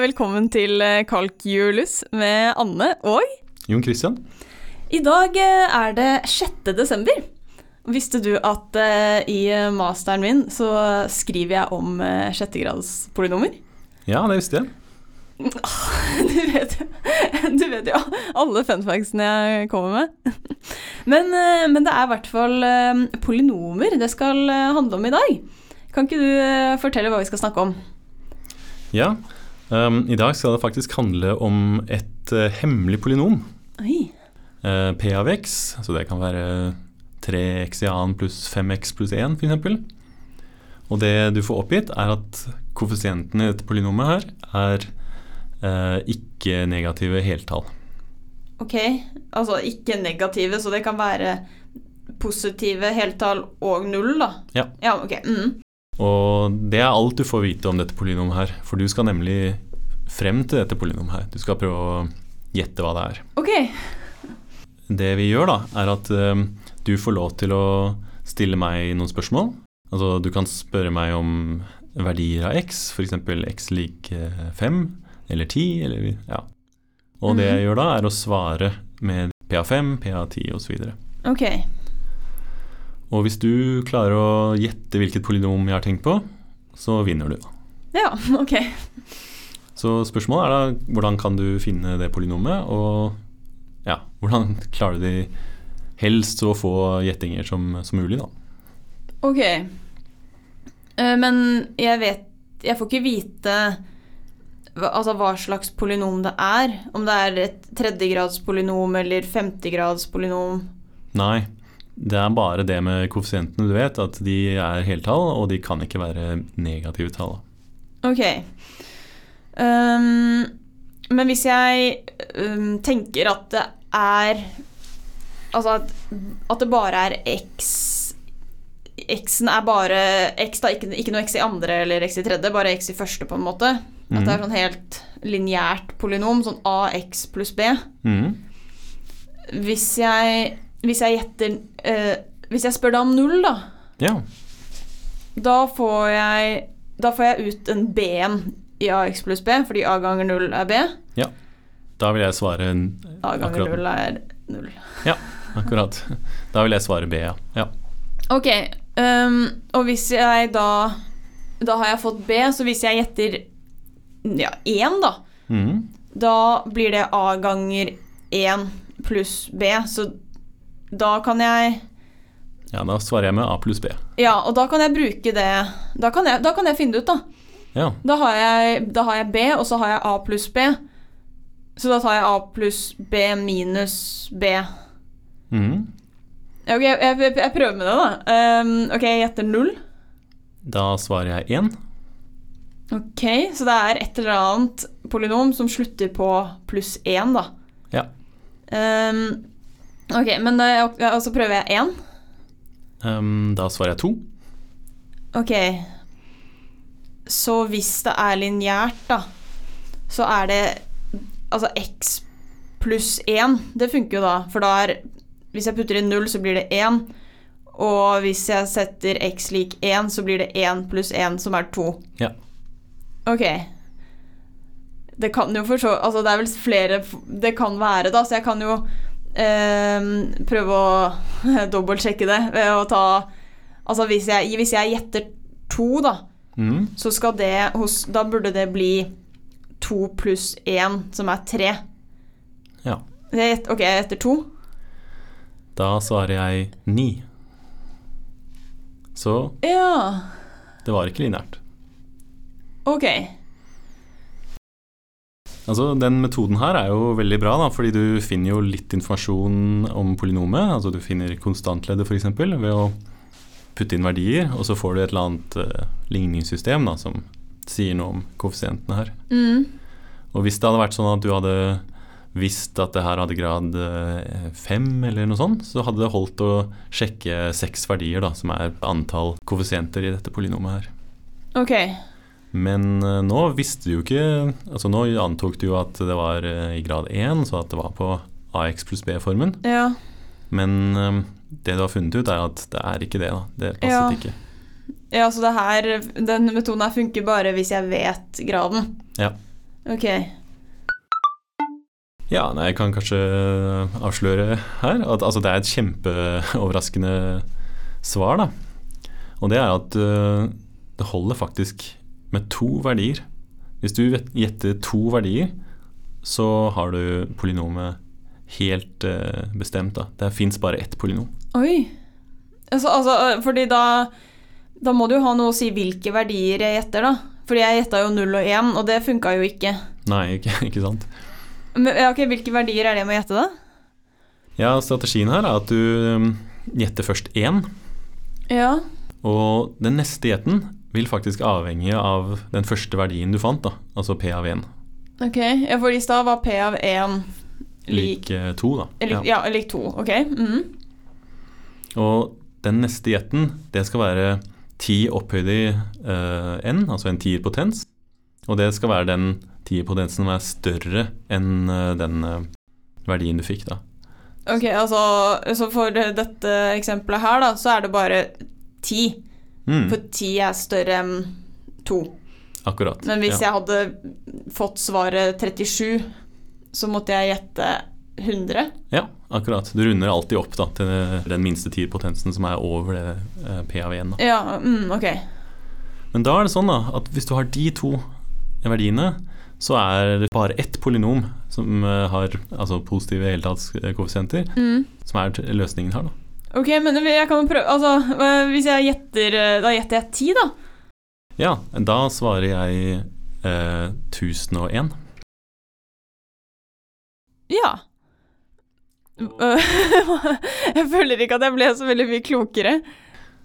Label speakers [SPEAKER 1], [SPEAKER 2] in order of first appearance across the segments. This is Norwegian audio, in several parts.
[SPEAKER 1] velkommen til eh, Kalkjulus med Anne og
[SPEAKER 2] Jon Christian?
[SPEAKER 1] I dag eh, er det 6. desember. Visste du at eh, i eh, masteren min så skriver jeg om eh, sjettegradspolynomer?
[SPEAKER 2] Ja, det visste jeg.
[SPEAKER 1] Du vet, jo- du vet jo alle fun factsene jeg kommer med. Men, eh, men det er i hvert fall eh, polynomer det skal eh, handle om i dag. Kan ikke du eh, fortelle hva vi skal snakke om?
[SPEAKER 2] Ja. Um, I dag skal det faktisk handle om et eh, hemmelig polynom.
[SPEAKER 1] Oi.
[SPEAKER 2] eh, P av x, så det kan være 3x i annen pluss 5x pluss 1 f.eks. Og det du får oppgitt, er at koeffisienten i dette polynomet her er eh, ikke-negative heltall.
[SPEAKER 1] Ok, altså ikke negative, så det kan være positive heltall og null, da?
[SPEAKER 2] Ja.
[SPEAKER 1] Ja, ok. Mm.
[SPEAKER 2] Og det er alt du får vite om dette polynomet her, for du skal nemlig frem til dette polynomet her. Du skal prøve å gjette hva det er.
[SPEAKER 1] Ok,
[SPEAKER 2] Det vi gjør da, er at eh, du får lov til å stille meg noen spørsmål. Altså, du kan spørre meg om verdier av x, f.eks. x lik eh, 5 eller 10, eller ja. Og det jeg gjør da, er å svare med p av 5, p av 10 osv.
[SPEAKER 1] ok.
[SPEAKER 2] Og hvis du klarer å gjette hvilket polynom jeg har tenkt på, så vinner du.
[SPEAKER 1] Ja, ok.
[SPEAKER 2] Så spørsmålet er da hvordan kan du finne det polynomet, og ja, hvordan klarer du de helst å få gjettinger som, som mulig, da.
[SPEAKER 1] Ok. Eh, Men jeg vet Jeg får ikke vite hva, altså hva slags polynom det er. Om det er et tredjegradspolynom eller femtegradspolynom.
[SPEAKER 2] Nei, det er bare det med koeffisientene du vet, at de er heltall, og de kan ikke være negative tall.
[SPEAKER 1] Ok. Ehm, men hvis jeg ehm, tenker at det er Altså at, at det bare er x X-en er bare x, da, ikke, ikke noe x i andre eller x i tredje, bare x i første, på en måte. At det er sånn helt lineært polynom, sånn ax pluss b.
[SPEAKER 2] Mhm.
[SPEAKER 1] Hvis jeg, hvis jeg gjetter eh, Hvis jeg spør deg om null, da,
[SPEAKER 2] Ja,
[SPEAKER 1] da får jeg, da får jeg ut en B-en i AX pluss B, fordi A ganger 0 er B.
[SPEAKER 2] da vil jeg svare n-
[SPEAKER 1] A ganger
[SPEAKER 2] akkurat.
[SPEAKER 1] 0 er 0.
[SPEAKER 2] akkurat. Da vil jeg svare B, ja. ja.
[SPEAKER 1] Ok, ehm, og hvis jeg da Da har jeg fått B, så hvis jeg gjetter ja, 1, da,
[SPEAKER 2] Mhm.
[SPEAKER 1] da blir det A ganger 1 pluss B, så da kan jeg
[SPEAKER 2] Ja, da svarer jeg med A pluss B.
[SPEAKER 1] Ja, og da kan jeg bruke det Da kan jeg, da kan jeg finne det ut, da.
[SPEAKER 2] Ja,
[SPEAKER 1] Da har, jeg, da har jeg B, og så har jeg A pluss B. Så da tar jeg A pluss B minus B.
[SPEAKER 2] Mhm.
[SPEAKER 1] Ja, Ok, jeg, jeg, jeg prøver med det, da. Ehm, ok, jeg gjetter null.
[SPEAKER 2] Da svarer jeg 1.
[SPEAKER 1] Ok, Så det er et eller annet polynom som slutter på pluss én, da.
[SPEAKER 2] Ja.
[SPEAKER 1] Ehm, ok, men da- og så prøver jeg én.
[SPEAKER 2] Ehm, da svarer jeg 2.
[SPEAKER 1] Ok. Så hvis det er lineært, da, så er det Altså x pluss 1. Det funker jo da, for da er Hvis jeg putter inn 0, så blir det 1. Og hvis jeg setter x lik 1, så blir det 1 pluss 1, som er 2.
[SPEAKER 2] Ja.
[SPEAKER 1] Ok. Det kan jo for så Altså, det er vel flere f- det kan være, da, så jeg kan jo eh, prøve å dobbeltsjekke det ved å ta Altså hvis jeg, hvis jeg gjetter to, da,
[SPEAKER 2] Mhm.
[SPEAKER 1] så skal det hos Da burde det bli to pluss én, som er tre.
[SPEAKER 2] Ja.
[SPEAKER 1] Jeg gjett- ok, jeg gjetter to.
[SPEAKER 2] Da svarer jeg 9. Så
[SPEAKER 1] Ja,
[SPEAKER 2] det var ikke linært.
[SPEAKER 1] ok.
[SPEAKER 2] Altså, Den metoden her er jo veldig bra, da, fordi du finner jo litt informasjon om polynomet. altså Du finner konstantleddet f.eks. ved å putte inn verdier, og så får du et eller annet eh, ligningssystem da, som sier noe om koeffisientene her.
[SPEAKER 1] Mm.
[SPEAKER 2] Og hvis det hadde vært sånn at du hadde visst at det her hadde grad eh, fem, eller noe sånt, så hadde det holdt å sjekke seks verdier, da, som er antall koeffisienter i dette polynomet her.
[SPEAKER 1] Ok.
[SPEAKER 2] Men eh, nå visste du jo ikke Altså nå antok du jo at det var eh, i grad 1, så at det var på AX pluss B-formen.
[SPEAKER 1] Ja.
[SPEAKER 2] Men eh, det du har funnet ut, er at det er ikke det. da. Det passet
[SPEAKER 1] Ja.
[SPEAKER 2] ikke.
[SPEAKER 1] ja, så det her Den metoden her funker bare hvis jeg vet graden.
[SPEAKER 2] Ja.
[SPEAKER 1] Ok.
[SPEAKER 2] Ja, nei, jeg kan kanskje eh, avsløre her at altså, det er et kjempeoverraskende svar, da. Og det er at øh, det holder faktisk med to verdier. Hvis du vet- gjetter to verdier, så har du polynomet helt øh, bestemt, da. Det fins bare ett polynom.
[SPEAKER 1] Oi. Altså, altså, fordi da Da må du jo ha noe å si hvilke verdier jeg gjetter, da. Fordi jeg gjetta jo 0 og 1, og det funka jo ikke.
[SPEAKER 2] Nei, ikke, ikke sant?
[SPEAKER 1] Men ja, ok, Hvilke verdier er det jeg må gjette, da?
[SPEAKER 2] Ja, strategien her er at du øhm, gjetter først én,
[SPEAKER 1] Ja.
[SPEAKER 2] og den neste gjetten vil faktisk avhenge av den første verdien du fant, da. Altså P av 1.
[SPEAKER 1] Ok. Ja, for i stad var P av 1 lik
[SPEAKER 2] Lik eh, to, da.
[SPEAKER 1] eh, lik- Ja, lik 2. Ok. mhm.
[SPEAKER 2] Og den neste gjetten, det skal være ti opphøyd i eh, n, altså en tierpotens. Og det skal være den tierpotensen som er større enn eh, den eh, verdien du fikk, da.
[SPEAKER 1] Ok, altså Så for eh, dette eksempelet her, da, så er det bare 10.
[SPEAKER 2] Mm,
[SPEAKER 1] For 10 er større enn 2.
[SPEAKER 2] akkurat.
[SPEAKER 1] Men hvis
[SPEAKER 2] ja.
[SPEAKER 1] jeg hadde fått svaret 37, så måtte jeg gjette 100.
[SPEAKER 2] ja, akkurat. Du runder alltid opp da, til den minste tierpotensen som er over det eh, p av 1. Da.
[SPEAKER 1] Ja, mm, ok.
[SPEAKER 2] Men da er det sånn da, at hvis du har de to verdiene, så er det bare ett polynom som eh, har altså positive heltallskoeffisienter,
[SPEAKER 1] Mm.
[SPEAKER 2] som er t- løsningen her. da.
[SPEAKER 1] Ok, men jeg kan jo prøve Altså, øh, hvis jeg gjetter øh, Da gjetter jeg 10, da.
[SPEAKER 2] Ja, da svarer jeg eh, 1001.
[SPEAKER 1] Ja. Øh, jeg føler ikke at jeg ble så veldig mye klokere.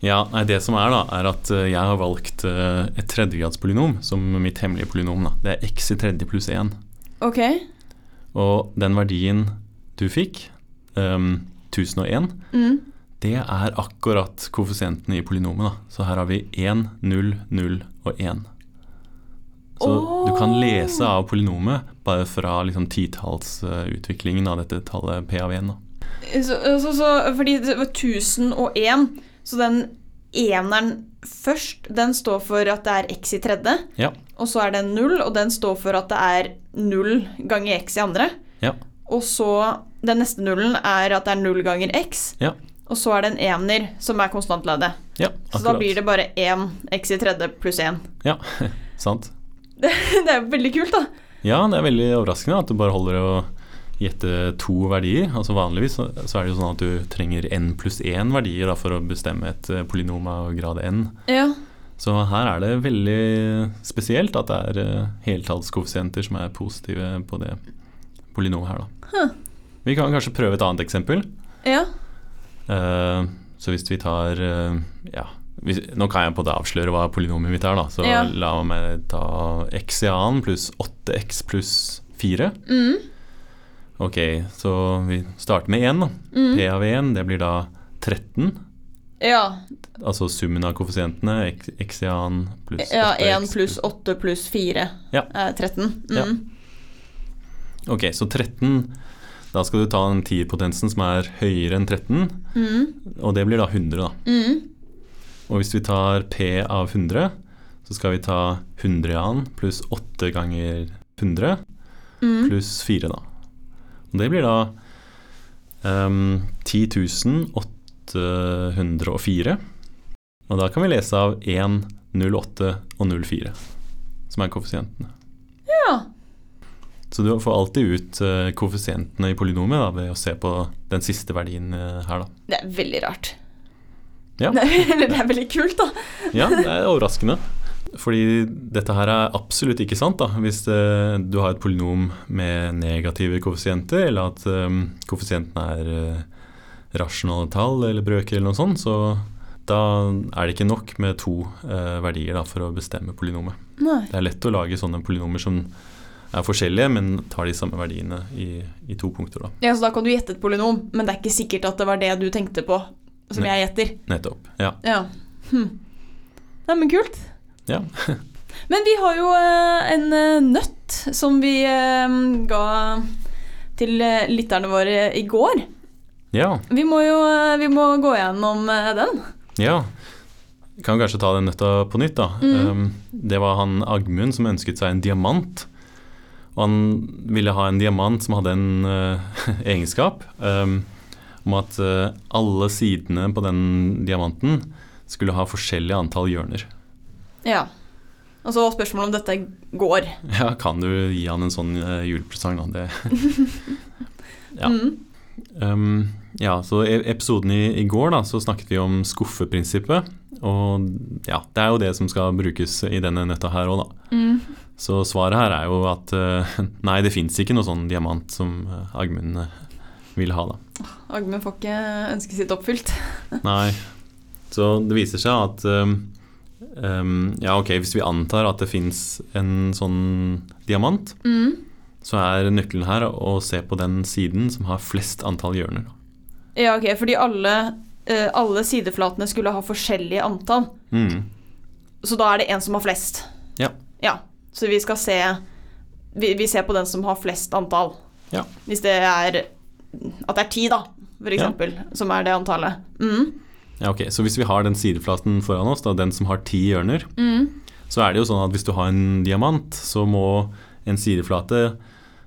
[SPEAKER 2] Ja, nei, det som er da, er at eh, jeg har valgt eh, et tredjegradspolynom som mitt hemmelige polynom. da. Det er x i tredje pluss 1.
[SPEAKER 1] Ok.
[SPEAKER 2] Og den verdien du fikk, ehm, 1001,
[SPEAKER 1] Mm.
[SPEAKER 2] det er akkurat koeffisienten i polynomet. da. Så her har vi 1, 0, 0 og 1. Så du kan
[SPEAKER 1] Åh.
[SPEAKER 2] lese av polynomet bare fra liksom, titallsutviklingen av dette tallet p av 1. da.
[SPEAKER 1] Så, så, så, fordi det var 1001, så den eneren først, den står for at det er x i tredje.
[SPEAKER 2] Ja.
[SPEAKER 1] Og så er det en null, og den står for at det er null ganger x i andre.
[SPEAKER 2] Ja.
[SPEAKER 1] Og så den neste nullen er at det er null ganger x.
[SPEAKER 2] Ja.
[SPEAKER 1] Og så er det en ener som er konstantleddet.
[SPEAKER 2] Ja,
[SPEAKER 1] Så da blir det bare én x i tredje pluss én.
[SPEAKER 2] Ja, sant.
[SPEAKER 1] Det er jo veldig kult, da.
[SPEAKER 2] Ja, det er veldig overraskende at du bare holder å gjette to verdier. Altså Vanligvis så så er det jo sånn at du trenger n pluss én verdier da, for å bestemme et eh, polynom av grad n.
[SPEAKER 1] Ja.
[SPEAKER 2] Så her er det veldig spesielt at det er eh, heltallskoeffisienter som er positive på det polynomet her, da.
[SPEAKER 1] Huh.
[SPEAKER 2] Vi kan kanskje prøve et annet eksempel.
[SPEAKER 1] ja.
[SPEAKER 2] Eh, så hvis vi tar eh, Ja, hvis, nå kan jeg på det avsløre hva polynomet mitt er, da. Så
[SPEAKER 1] Ja.
[SPEAKER 2] la meg ta x i annen pluss 8x pluss 4.
[SPEAKER 1] Mm.
[SPEAKER 2] Ok, så vi starter med 1, da.
[SPEAKER 1] Mm.
[SPEAKER 2] P av 1, det blir da 13.
[SPEAKER 1] Ja.
[SPEAKER 2] Altså summen av koeffisientene. X, x i annen pluss
[SPEAKER 1] ja 1
[SPEAKER 2] 8x
[SPEAKER 1] pluss 8 pluss 4
[SPEAKER 2] Ja.
[SPEAKER 1] er 13. Mm.
[SPEAKER 2] Ja. Ok, så 13 Da skal du ta den tierpotensen som er høyere enn 13,
[SPEAKER 1] Mm.
[SPEAKER 2] og det blir da 100, da.
[SPEAKER 1] Mm.
[SPEAKER 2] Og hvis vi tar P av 100, så skal vi ta 100 i annen pluss 8 ganger 100
[SPEAKER 1] Mm.
[SPEAKER 2] pluss 4, da. Og det blir da um, 10.804. Og da kan vi lese av 1, 08 og 04, som er koeffisientene.
[SPEAKER 1] Ja.
[SPEAKER 2] Så du får alltid ut eh, koeffisientene i polynomet da, ved å se på den siste verdien eh, her, da.
[SPEAKER 1] Det er veldig rart.
[SPEAKER 2] Ja.
[SPEAKER 1] Eller det er veldig kult, da.
[SPEAKER 2] Ja, det er overraskende. Fordi dette her er absolutt ikke sant da, hvis eh, du har et polynom med negative koeffisienter, eller at um, koeffisienten er eh, rasjonale tall eller brøker eller noe sånt, så da er det ikke nok med to eh, verdier da, for å bestemme polynomet.
[SPEAKER 1] Nei.
[SPEAKER 2] Det er lett å lage sånne polynomer som er forskjellige, men tar de samme verdiene i, i to punkter. da.
[SPEAKER 1] Ja, så da kan du gjette et polynom, men det er ikke sikkert at det var det du tenkte på som
[SPEAKER 2] Nei.
[SPEAKER 1] jeg gjetter.
[SPEAKER 2] Nettopp. Ja.
[SPEAKER 1] Ja. Hm. Nei, men kult.
[SPEAKER 2] Ja.
[SPEAKER 1] men vi har jo eh, en eh, nøtt som vi eh, ga til eh, lytterne våre i går.
[SPEAKER 2] ja.
[SPEAKER 1] Vi må jo eh, vi må gå gjennom eh, den.
[SPEAKER 2] Ja. Kan kanskje ta den nøtta på nytt, da. Ehm,
[SPEAKER 1] Mm.
[SPEAKER 2] Um, det var han Agmund som ønsket seg en diamant. Og han ville ha en diamant som hadde en eh, egenskap eh, om at eh, alle sidene på den diamanten skulle ha forskjellig antall hjørner.
[SPEAKER 1] Ja. Altså, Og så var spørsmålet om dette går.
[SPEAKER 2] Ja, kan du gi han en sånn eh, julepresang, da? Det. Ja.
[SPEAKER 1] Mm.
[SPEAKER 2] Um, ja, så i episoden i, i går da, så snakket vi om skuffeprinsippet. Og ja, det er jo det som skal brukes i denne nøtta her òg, da.
[SPEAKER 1] Mm.
[SPEAKER 2] Så svaret her er jo at eh, nei, det fins ikke noe sånn diamant som eh, Agmund eh, vil ha, da.
[SPEAKER 1] Agmund får ikke eh, ønsket sitt oppfylt.
[SPEAKER 2] Nei. Så det viser seg at eh, em, Ja, ok, hvis vi antar at det fins en sånn diamant,
[SPEAKER 1] Mm.
[SPEAKER 2] så er nøkkelen her å se på den siden som har flest antall hjørner.
[SPEAKER 1] Ja, ok, fordi alle, eh, alle sideflatene skulle ha forskjellige antall.
[SPEAKER 2] Mm.
[SPEAKER 1] Så da er det en som har flest.
[SPEAKER 2] Ja.
[SPEAKER 1] Ja, Så vi skal se Vi, vi ser på den som har flest antall.
[SPEAKER 2] Ja.
[SPEAKER 1] Hvis det er At det er ti, da, for
[SPEAKER 2] Ja.
[SPEAKER 1] eksempel, som er det antallet. Mm.
[SPEAKER 2] Ja, ok, Så hvis vi har den sideflaten foran oss, da, den som har ti hjørner,
[SPEAKER 1] Mm.
[SPEAKER 2] så er det jo sånn at hvis du har en diamant, så må en sideflate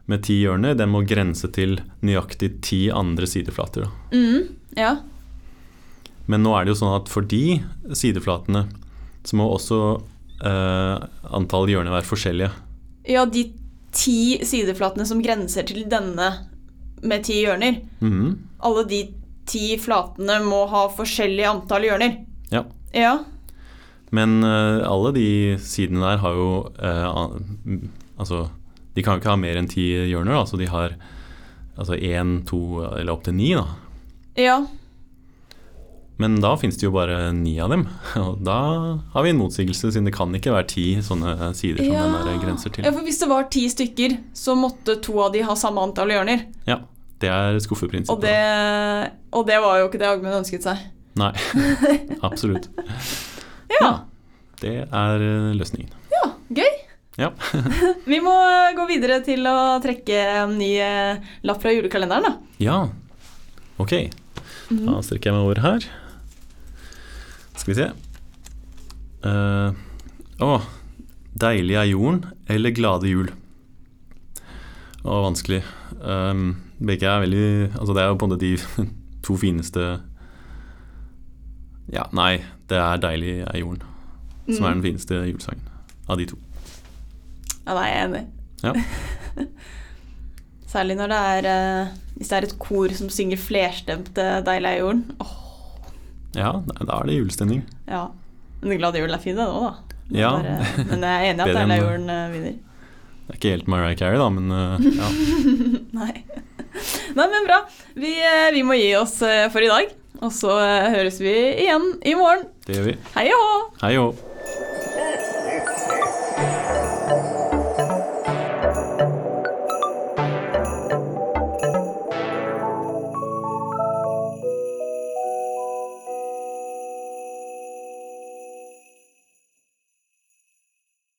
[SPEAKER 2] med ti hjørner, den må grense til nøyaktig ti andre sideflater. Da.
[SPEAKER 1] Mm. Ja.
[SPEAKER 2] Men nå er det jo sånn at for de sideflatene så må også eh, antall hjørner være forskjellige.
[SPEAKER 1] ja, de ti sideflatene som grenser til denne med ti hjørner,
[SPEAKER 2] Mhm,
[SPEAKER 1] alle de ti flatene må ha forskjellig antall hjørner.
[SPEAKER 2] ja.
[SPEAKER 1] Ja.
[SPEAKER 2] Men eh, alle de sidene der har jo eh, an- m- Altså, de kan jo ikke ha mer enn ti hjørner, da, så de har altså én, to eller opptil ni, da.
[SPEAKER 1] Ja.
[SPEAKER 2] Men da finnes det jo bare ni av dem, og da har vi en motsigelse, siden det kan ikke være ti sånne sider som den der grenser til.
[SPEAKER 1] ja, for hvis det var ti stykker, så måtte to av de ha samme antall hjørner.
[SPEAKER 2] Ja, det er
[SPEAKER 1] Og
[SPEAKER 2] skuffeprinsippet.
[SPEAKER 1] det, og det var jo ikke det Agmund ønsket seg.
[SPEAKER 2] Nei, absolutt.
[SPEAKER 1] Ja,
[SPEAKER 2] Det er eh, løsningen.
[SPEAKER 1] gøy.
[SPEAKER 2] Ja.
[SPEAKER 1] Vi må eh, gå videre til å trekke en ny eh, lapp fra julekalenderen, da.
[SPEAKER 2] Ja, ok. Da strekker jeg meg over her. Skal vi se. Eh, Å, deilig er jorden, eller glade jul? Å, vanskelig. Um, begge er veldig Altså, det er jo på en måte de to fineste Ja, nei, det er deilig er jorden, som er den fineste julesangen av de to.
[SPEAKER 1] Ja, nei, jeg er enig.
[SPEAKER 2] Ja.
[SPEAKER 1] Særlig når det er eh, Hvis det er et kor som synger flerstemte 'Deilig er jorden'. Åh,
[SPEAKER 2] Ja, nei, da er det julestemning.
[SPEAKER 1] ja. Men 'Glad jul' er fin, den òg, da. Den
[SPEAKER 2] Ja.
[SPEAKER 1] er, eh, men jeg er enig i at
[SPEAKER 2] Bedre
[SPEAKER 1] 'Deilig er
[SPEAKER 2] enn-
[SPEAKER 1] jorden' eh, vinner.
[SPEAKER 2] Det er ikke helt Mariah Carey, da, men eh, ja.
[SPEAKER 1] Nei. Nei, men bra. Vi, eh, vi må gi oss eh, for i dag. Og så eh, høres vi igjen i morgen.
[SPEAKER 2] Det gjør vi.
[SPEAKER 1] Hei og hå!
[SPEAKER 2] Hei og hå.